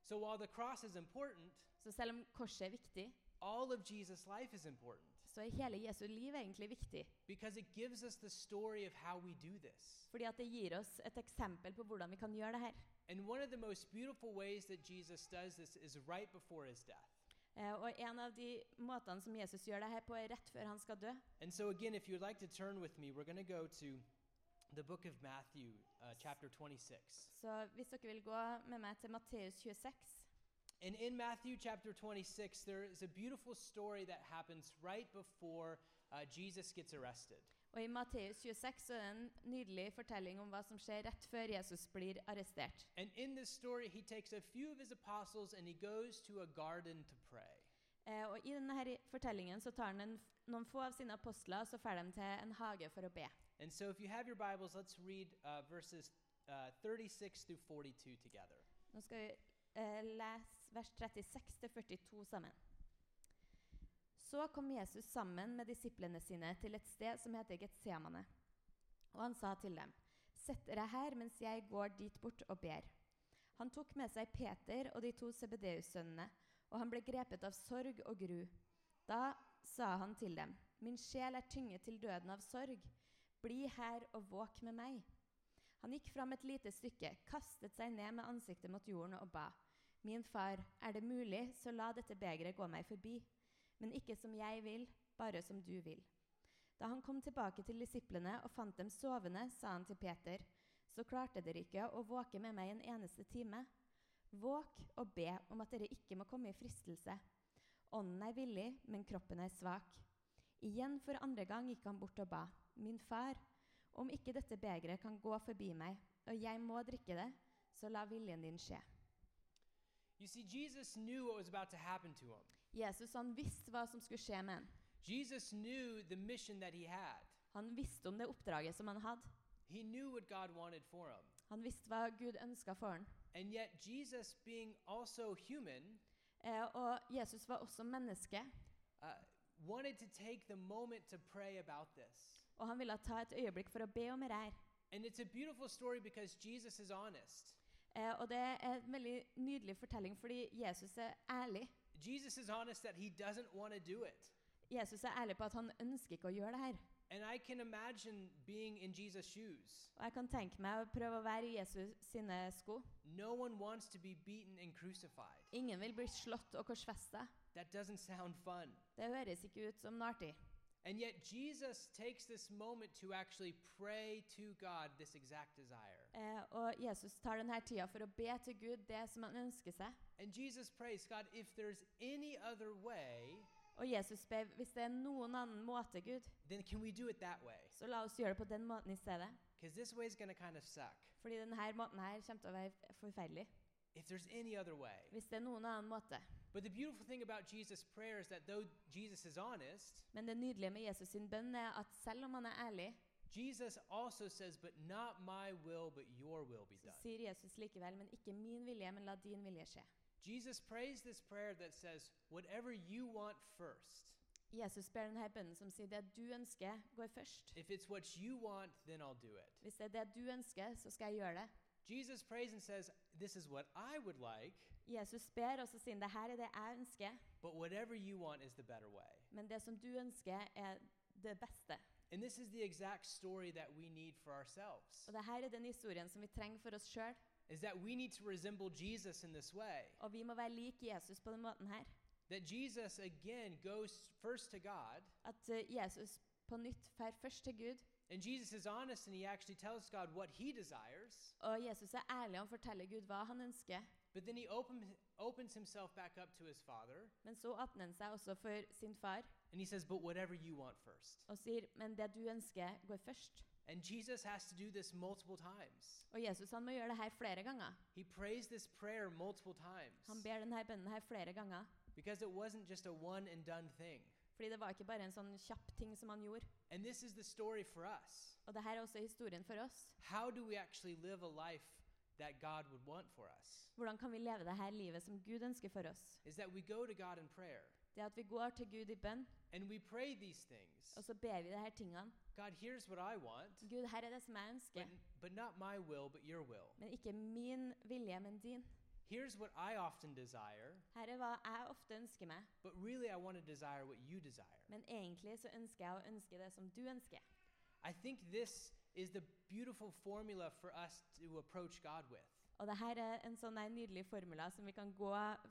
Speaker 1: So while the cross is important,
Speaker 2: Så selv om korset er viktig,
Speaker 1: all of Jesus' life is important
Speaker 2: så er hele Jesu liv egentlig viktig.
Speaker 1: because it gives us the story of how we do this.
Speaker 2: Fordi at det gir oss et eksempel på hvordan vi kan gjøre det her.
Speaker 1: And one of the most beautiful ways that Jesus does this is right before his death.
Speaker 2: Eh, og en av de måtene som Jesus gjør det her på, er rett før han skal dø.
Speaker 1: And so, again, if you'd like to turn with me, we're going to go to the book of Matthew, uh, chapter 26.
Speaker 2: Så hvis dere vil gå med meg til Matteus 26,
Speaker 1: And in Matthew chapter 26, there is a beautiful story that happens right before uh, Jesus gets arrested.
Speaker 2: og i Matteus 26 så er det en nydelig fortelling om hva som skjer rett før Jesus blir arrestert.
Speaker 1: And in this story, he takes a few of his apostles and he goes to a garden to pray.
Speaker 2: Eh, og i denne her fortellingen så tar han en, noen få av sine apostler, og så drar de til en hage for å be.
Speaker 1: And so, if you have your Bibles, let's read uh, verses uh, 36 through 42 together.
Speaker 2: Nå skal vi eh, lese vers 36 til 42 sammen. Så kom Jesus sammen med disiplene sine til et sted som heter Getsemane. Og han sa til dem, Sett dere her mens jeg går dit bort og ber. Han tok med seg Peter og de to Sebedeus-sønnene, og han ble grepet av sorg og gru. Da sa han til dem, Min sjel er tynget til døden av sorg. Bli her og våk med meg. Han gikk fram et lite stykke, kastet seg ned med ansiktet mot jorden og ba. Min far, er det mulig, så la dette begeret gå meg forbi. Men ikke som jeg vil, bare som du vil. Da han kom tilbake til disiplene og fant dem sovende, sa han til Peter, så klarte dere ikke å våke med meg en eneste time. Våk og be om at dere ikke må komme i fristelse. Ånden er villig, men kroppen er svak. Igjen for andre gang gikk han bort og ba. Min far, om ikke dette begeret kan gå forbi meg, og jeg må drikke det, så la viljen din skje.
Speaker 1: You see, Jesus knew what was about to happen to him,
Speaker 2: Jesus han visste hva som skulle skje med ham.
Speaker 1: Jesus knew the mission that he had,
Speaker 2: Han visste om det oppdraget som han hadde.
Speaker 1: he knew what God wanted for him.
Speaker 2: Han visste hva Gud ønska for ham.
Speaker 1: And yet, Jesus, being also human,
Speaker 2: Eh, og Jesus var også menneske,
Speaker 1: uh, wanted to take the moment to pray about this.
Speaker 2: og han ville ta et øyeblikk for å be om dette. her.
Speaker 1: And it's a beautiful story because Jesus is honest.
Speaker 2: Eh, og det er en veldig nydelig fortelling, fordi Jesus er ærlig.
Speaker 1: Jesus is honest that he doesn't want to do it.
Speaker 2: Jesus er ærlig på at han ønsker ikke å gjøre det her.
Speaker 1: And I can imagine being in Jesus' shoes.
Speaker 2: Og jeg kan tenke meg å prøve å være i Jesus sine sko.
Speaker 1: No one wants to be beaten and crucified.
Speaker 2: Ingen vil bli slått og korsfesta.
Speaker 1: That doesn't sound fun.
Speaker 2: Det høres ikke ut som noe artig.
Speaker 1: And yet, Jesus takes this moment to actually pray to God this exact desire.
Speaker 2: Eh, og Jesus tar denne tida for å be til Gud det som han ønsker seg.
Speaker 1: And Jesus prays, God, if there's any other way,
Speaker 2: Og Jesus ber hvis det er noen annen måte, Gud,
Speaker 1: then can we do it that way?
Speaker 2: så la oss gjøre det på den måten i stedet.
Speaker 1: Because this way is going to kind of suck.
Speaker 2: Fordi denne måten her kommer til å være forferdelig.
Speaker 1: If there's any other way.
Speaker 2: Hvis det er noen annen måte.
Speaker 1: But the beautiful thing about Jesus' prayer is that though Jesus is honest,
Speaker 2: Men det nydelige med Jesus sin bønn er at selv om han er ærlig,
Speaker 1: Jesus also says, But not my will, but your will be
Speaker 2: så
Speaker 1: done.
Speaker 2: sier Jesus likevel, men ikke min vilje, men la din vilje skje.
Speaker 1: Jesus prays this prayer that says, Whatever you want first.
Speaker 2: Jesus ber denne bønnen som sier det du ønsker, går først.
Speaker 1: If it's what you want, then I'll do it.
Speaker 2: Hvis det er det du ønsker, så skal jeg gjøre det.
Speaker 1: Jesus prays and says, This is what I would like,
Speaker 2: Jesus ber, og så sier han det her er det jeg ønsker,
Speaker 1: but whatever you want is the better way.
Speaker 2: men det som du ønsker, er det beste.
Speaker 1: And this is the exact story that we need for ourselves.
Speaker 2: Og det her er den historien som vi trenger for oss sjøl.
Speaker 1: Is that we need to resemble Jesus in this way.
Speaker 2: Og vi må være lik Jesus på den måten her.
Speaker 1: That Jesus again goes first to God,
Speaker 2: At eh, Jesus på nytt drar først til Gud,
Speaker 1: and Jesus is honest and he actually tells God what he desires.
Speaker 2: og Jesus er ærlig og forteller Gud hva han ønsker.
Speaker 1: But then he open, opens himself back up to his father
Speaker 2: Men så åpner han seg også for sin far
Speaker 1: and he says, But whatever you want first.
Speaker 2: og sier, men det du ønsker, går først.
Speaker 1: And Jesus has to do this multiple times.
Speaker 2: Og Jesus han må gjøre det her flere ganger.
Speaker 1: He prays this prayer multiple
Speaker 2: Han
Speaker 1: times
Speaker 2: ber denne bønnen her flere ganger.
Speaker 1: because it wasn't just a one and done thing.
Speaker 2: Fordi det var ikke bare en sånn kjapp ting som han gjorde.
Speaker 1: And this is the story for us.
Speaker 2: Og det her er også historien for oss.
Speaker 1: How do we actually live a life that God would want for us?
Speaker 2: Hvordan kan vi leve det her livet som Gud ønsker for oss?
Speaker 1: Is that we go to God in prayer
Speaker 2: Det at vi går til Gud i bønn,
Speaker 1: and we pray these
Speaker 2: og
Speaker 1: things.
Speaker 2: så ber vi de her tingene.
Speaker 1: God, here's what I want,
Speaker 2: Gud, her er det som jeg
Speaker 1: but,
Speaker 2: ønsker.
Speaker 1: but not my will, but your will.
Speaker 2: Men ikke min vilje, men din.
Speaker 1: Here's what I often desire,
Speaker 2: Her er hva jeg ofte ønsker meg,
Speaker 1: but really I want to desire what you desire.
Speaker 2: men egentlig så ønsker jeg å ønske det som du ønsker.
Speaker 1: I think this is the beautiful formula for us to approach God with.
Speaker 2: Og det her er en sånn her nydelig formula som vi kan gå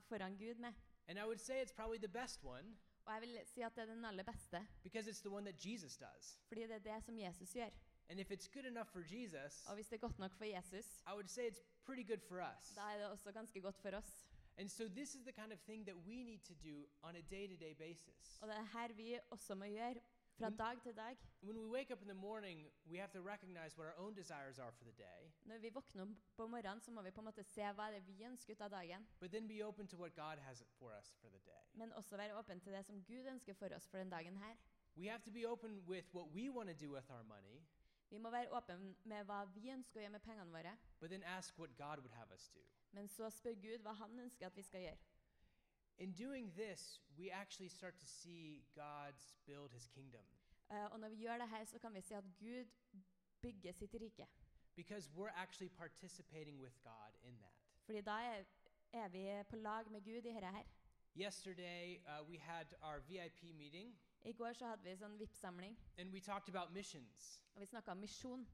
Speaker 2: foran Gud med.
Speaker 1: And I would say it's probably the best one
Speaker 2: Og jeg vil si at det er den aller beste,
Speaker 1: because it's the one that Jesus does.
Speaker 2: fordi det er det som Jesus gjør.
Speaker 1: And if it's good enough for Jesus,
Speaker 2: Og hvis det er godt nok for Jesus,
Speaker 1: I would say it's pretty good for us.
Speaker 2: da er det også ganske godt for oss.
Speaker 1: And so this is the kind of thing that we need to do on a day to day basis.
Speaker 2: Og det er her vi også må gjøre, fra
Speaker 1: Mm.
Speaker 2: dag til dag.
Speaker 1: When we wake up in the morning, we have to recognize what our own desires are for the day,
Speaker 2: Når vi våkner opp på morgenen, så må vi på en måte se hva er det vi ønsker ut av dagen,
Speaker 1: but then be open to what God has for us for the day.
Speaker 2: men også være åpen til det som Gud ønsker for oss for den dagen her.
Speaker 1: We have to be open with what we want to do with our money,
Speaker 2: Vi må være åpne med hva vi ønsker å gjøre med pengene våre,
Speaker 1: but then ask what God would have us do.
Speaker 2: men så spør Gud hva han ønsker at vi skal gjøre.
Speaker 1: In doing this, we actually start to see God's build his kingdom.
Speaker 2: Eh, og når vi gjør det her, så kan vi si at Gud bygger sitt rike.
Speaker 1: Because we're actually participating with God in that.
Speaker 2: Fordi da er, er vi på lag med Gud i dette her.
Speaker 1: Yesterday, uh, we had our VIP meeting
Speaker 2: I går så hadde vi sånn VIP-samling,
Speaker 1: and we talked about missions.
Speaker 2: og vi snakka om misjon.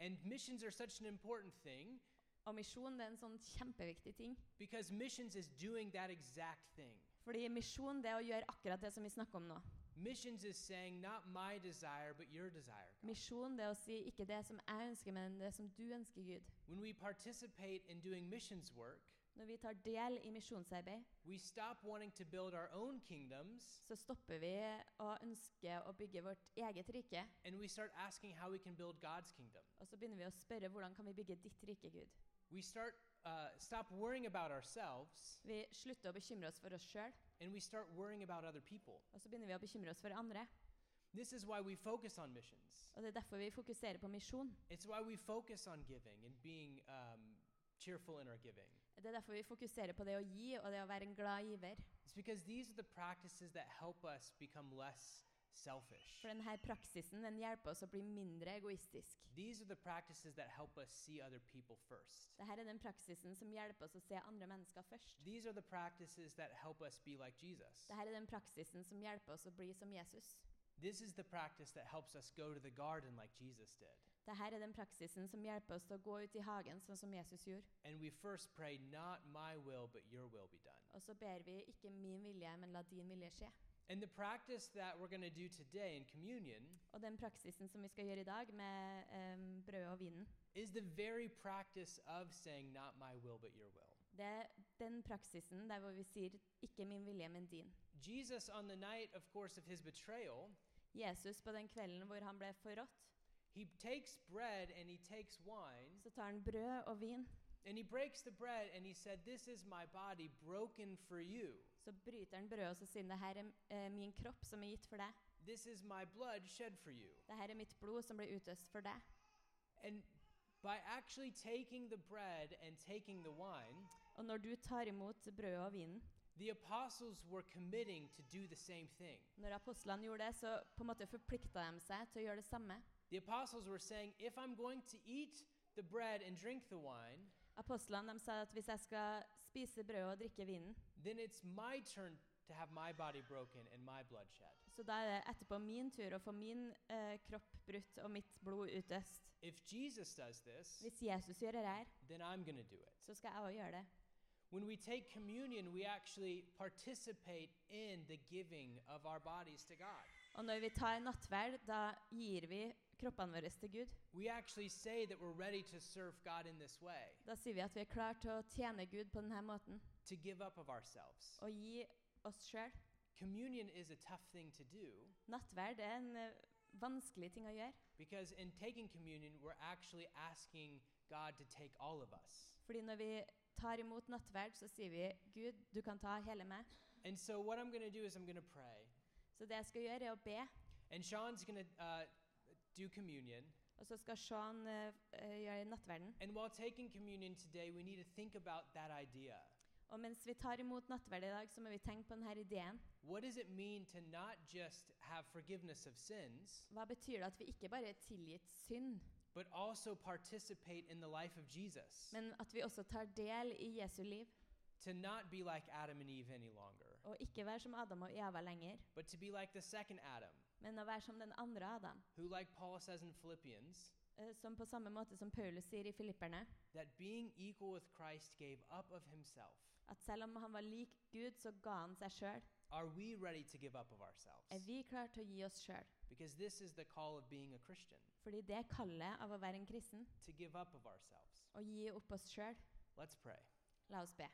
Speaker 1: And missions are such an important thing
Speaker 2: Og misjon det er en sånn kjempeviktig ting.
Speaker 1: because missions is doing that exact thing.
Speaker 2: Fordi misjon det er å gjøre akkurat det som vi snakker om nå.
Speaker 1: Missions is saying, Not my desire, but your desire. God."
Speaker 2: Misjon det er å si ikke det som jeg ønsker, men det som du ønsker, Gud.
Speaker 1: When we participate in doing missions work,
Speaker 2: Når vi tar del i misjonsarbeid,
Speaker 1: we stop wanting to build our own kingdoms
Speaker 2: så stopper vi å ønske å bygge vårt eget rike.
Speaker 1: and we start asking how we can build God's kingdom.
Speaker 2: Og så begynner vi å spørre hvordan kan vi bygge ditt rike, Gud.
Speaker 1: We start uh, stop worrying about ourselves
Speaker 2: Vi slutter å bekymre oss for oss sjøl,
Speaker 1: and we start worrying about other people.
Speaker 2: og så begynner vi å bekymre oss for andre.
Speaker 1: This is why we focus on missions.
Speaker 2: Og det er derfor vi fokuserer på misjon.
Speaker 1: It's why we focus on giving and being um, cheerful in our giving.
Speaker 2: Det er derfor vi fokuserer på det å gi og det å være en glad giver.
Speaker 1: It's because these are the practices that help us become less selfish.
Speaker 2: For denne praksisen den hjelper oss å bli mindre egoistisk.
Speaker 1: These are the practices that help us see other people first.
Speaker 2: Dette er den praksisen som hjelper oss å se andre mennesker først.
Speaker 1: These are the practices that help us be like Jesus.
Speaker 2: Dette er den praksisen som hjelper oss å bli som Jesus.
Speaker 1: This is the practice that helps us go to the garden like Jesus did.
Speaker 2: Dette er den praksisen som hjelper oss til å gå ut i hagen sånn som Jesus gjorde.
Speaker 1: And we first pray, Not my will, but your will be done.
Speaker 2: Og så ber vi ikke min vilje, men la din vilje skje.
Speaker 1: And the practice that we're going to do today in communion
Speaker 2: Og den praksisen som vi skal gjøre i dag med eh, brødet og vinen,
Speaker 1: is the very practice of saying, Not my will, but your will.
Speaker 2: det er den praksisen der hvor vi sier 'ikke min vilje, men din'.
Speaker 1: Jesus, on the night, of course, of his betrayal,
Speaker 2: Jesus, på den kvelden hvor han ble forrådt,
Speaker 1: he takes bread and he takes wine,
Speaker 2: så tar han brød og vin,
Speaker 1: and he breaks the bread and he said, This is my body broken for you.
Speaker 2: så bryter han brødet og så sier han 'det her er eh, min kropp som er gitt for deg',
Speaker 1: This is my blood shed for you.
Speaker 2: 'det her er mitt blod som ble utøst for deg'.
Speaker 1: And by actually taking the bread and taking the wine,
Speaker 2: Og når du tar imot brødet og vinen
Speaker 1: the apostles were committing to do the same thing.
Speaker 2: Når apostlene gjorde det, så på en måte forplikta de seg til å gjøre det samme.
Speaker 1: The apostles were saying, If I'm going to eat the bread and drink the wine,
Speaker 2: Apostlene de sa at hvis jeg skal spise brødet og drikke vinen,
Speaker 1: then it's my turn to have my body broken and my blood shed.
Speaker 2: Så da er det etterpå min tur å få min eh, kropp brutt og mitt blod utøst.
Speaker 1: If Jesus does this,
Speaker 2: Hvis Jesus gjør det her,
Speaker 1: then I'm going to do it.
Speaker 2: så skal jeg òg gjøre det.
Speaker 1: When we take communion, we actually participate in the giving of our bodies to God.
Speaker 2: Og når vi tar nattverd, da gir vi kroppene våre til Gud.
Speaker 1: We actually say that we're ready to serve God in this way,
Speaker 2: Da sier vi at vi er klare til å tjene Gud på denne måten
Speaker 1: to give up of ourselves.
Speaker 2: og gi oss sjøl.
Speaker 1: Communion is a tough thing to do
Speaker 2: Nattverd er en eh, vanskelig ting å gjøre,
Speaker 1: because in taking communion, we're actually asking God to take all of us.
Speaker 2: fordi når vi tar imot nattverd, så sier vi Gud, du kan ta hele meg.
Speaker 1: And so, what I'm going to do is I'm going to pray,
Speaker 2: Så det jeg skal gjøre, er å be,
Speaker 1: and Sean's going to uh, do communion.
Speaker 2: og så skal Sean eh, f- eh, gjøre nattverden.
Speaker 1: And while taking communion today, we need to think about that idea.
Speaker 2: Og mens vi tar imot nattverd i dag, så må vi tenke på denne ideen.
Speaker 1: What does it mean to not just have forgiveness of sins,
Speaker 2: Hva betyr det at vi ikke bare er tilgitt synd,
Speaker 1: but also participate in the life of Jesus?
Speaker 2: men at vi også tar del i Jesu liv?
Speaker 1: To not be like Adam and Eve any longer,
Speaker 2: Og ikke være som Adam og Eva lenger,
Speaker 1: but to be like the second Adam,
Speaker 2: men å være som den andre Adam.
Speaker 1: who, like Paul says in Philippians,
Speaker 2: eh, Som på samme måte som Paulus sier i Filipperne,
Speaker 1: that being equal with Christ gave up of himself.
Speaker 2: at selv om han var lik Gud, så ga han seg sjøl.
Speaker 1: Are we ready to give up of
Speaker 2: Er
Speaker 1: ourselves?
Speaker 2: vi klare til å gi oss sjøl?
Speaker 1: Because this is the call of being a Christian,
Speaker 2: Fordi det kallet av å være en kristen,
Speaker 1: to give up of ourselves.
Speaker 2: å gi opp oss sjøl
Speaker 1: Let's pray.
Speaker 2: La oss be.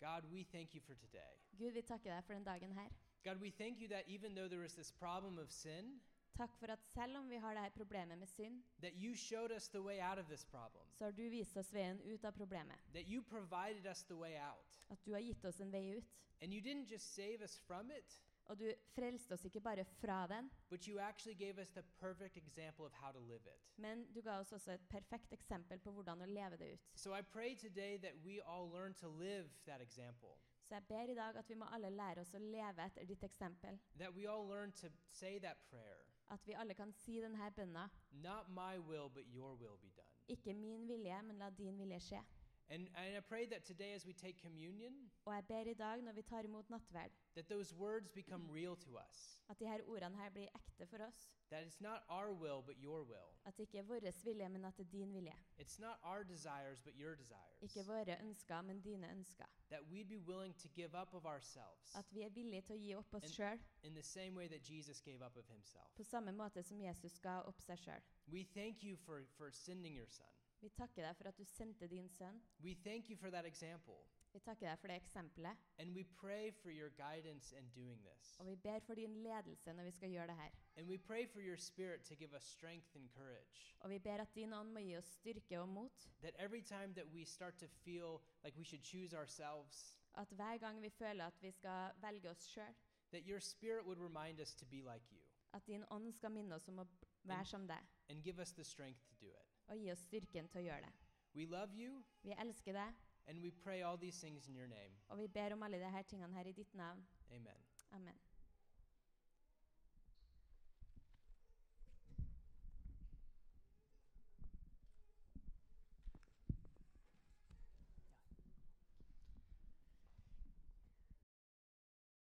Speaker 1: God, we thank you for today.
Speaker 2: Gud, vi takker deg for den dagen her.
Speaker 1: God, we thank you that even though there is this problem of sin,
Speaker 2: Takk for at selv om vi har dette problemet med synd,
Speaker 1: that you showed us the way out of this problem,
Speaker 2: så har du vist oss veien ut av problemet.
Speaker 1: that you provided us the way out.
Speaker 2: At du har gitt oss en vei ut.
Speaker 1: And you didn't just save us from it,
Speaker 2: Og du frelste oss ikke bare fra den,
Speaker 1: but you actually gave us the perfect example of how to live it.
Speaker 2: men du ga oss også et perfekt eksempel på hvordan å leve det ut.
Speaker 1: So I pray today that we all learn to live that example,
Speaker 2: Så jeg ber i dag at vi må alle lære oss å leve etter ditt eksempel.
Speaker 1: that we all learn to say that prayer
Speaker 2: At vi alle kan si denne bønna.
Speaker 1: not my will, but your will be done.
Speaker 2: Ikke min vilje, men la din vilje skje.
Speaker 1: And, and I pray that today, as we take communion,
Speaker 2: Og jeg ber i dag, når vi tar imot nattverd,
Speaker 1: that those words become real to us.
Speaker 2: at de her ordene her blir ekte for oss.
Speaker 1: That it's not our will, but your will.
Speaker 2: At det ikke er vår vilje, men at det er din vilje.
Speaker 1: It's not our desires, but your
Speaker 2: Ikke
Speaker 1: desires.
Speaker 2: våre ønsker, men dine ønsker.
Speaker 1: That we'd be willing to give up of ourselves
Speaker 2: At vi er villige til å gi opp oss
Speaker 1: En-
Speaker 2: sjøl,
Speaker 1: in the same way that Jesus gave up of himself.
Speaker 2: på samme måte som Jesus ga opp seg sjøl.
Speaker 1: We thank you for, for sending your son.
Speaker 2: Vi takker deg for at du sendte din sønn.
Speaker 1: We thank you for that example.
Speaker 2: Vi takker deg for det eksempelet,
Speaker 1: And we pray for your guidance in doing
Speaker 2: og
Speaker 1: this.
Speaker 2: vi ber for din ledelse når vi skal gjøre det her.
Speaker 1: And we pray for your spirit to give us strength and courage.
Speaker 2: Og vi ber at din ånd må gi oss styrke og mot.
Speaker 1: That every time that we start to feel like we should choose ourselves,
Speaker 2: At hver gang vi føler at vi skal velge oss sjøl,
Speaker 1: that your spirit would remind us to be like you
Speaker 2: at din ånd skal minne oss om å b-
Speaker 1: Men-
Speaker 2: være som deg
Speaker 1: and give us the strength to do it.
Speaker 2: og gi oss styrken til å gjøre det.
Speaker 1: We love you,
Speaker 2: Vi elsker deg,
Speaker 1: and we pray all these things in your name.
Speaker 2: og vi ber om alle disse tingene her i ditt navn.
Speaker 1: Amen.
Speaker 2: Amen.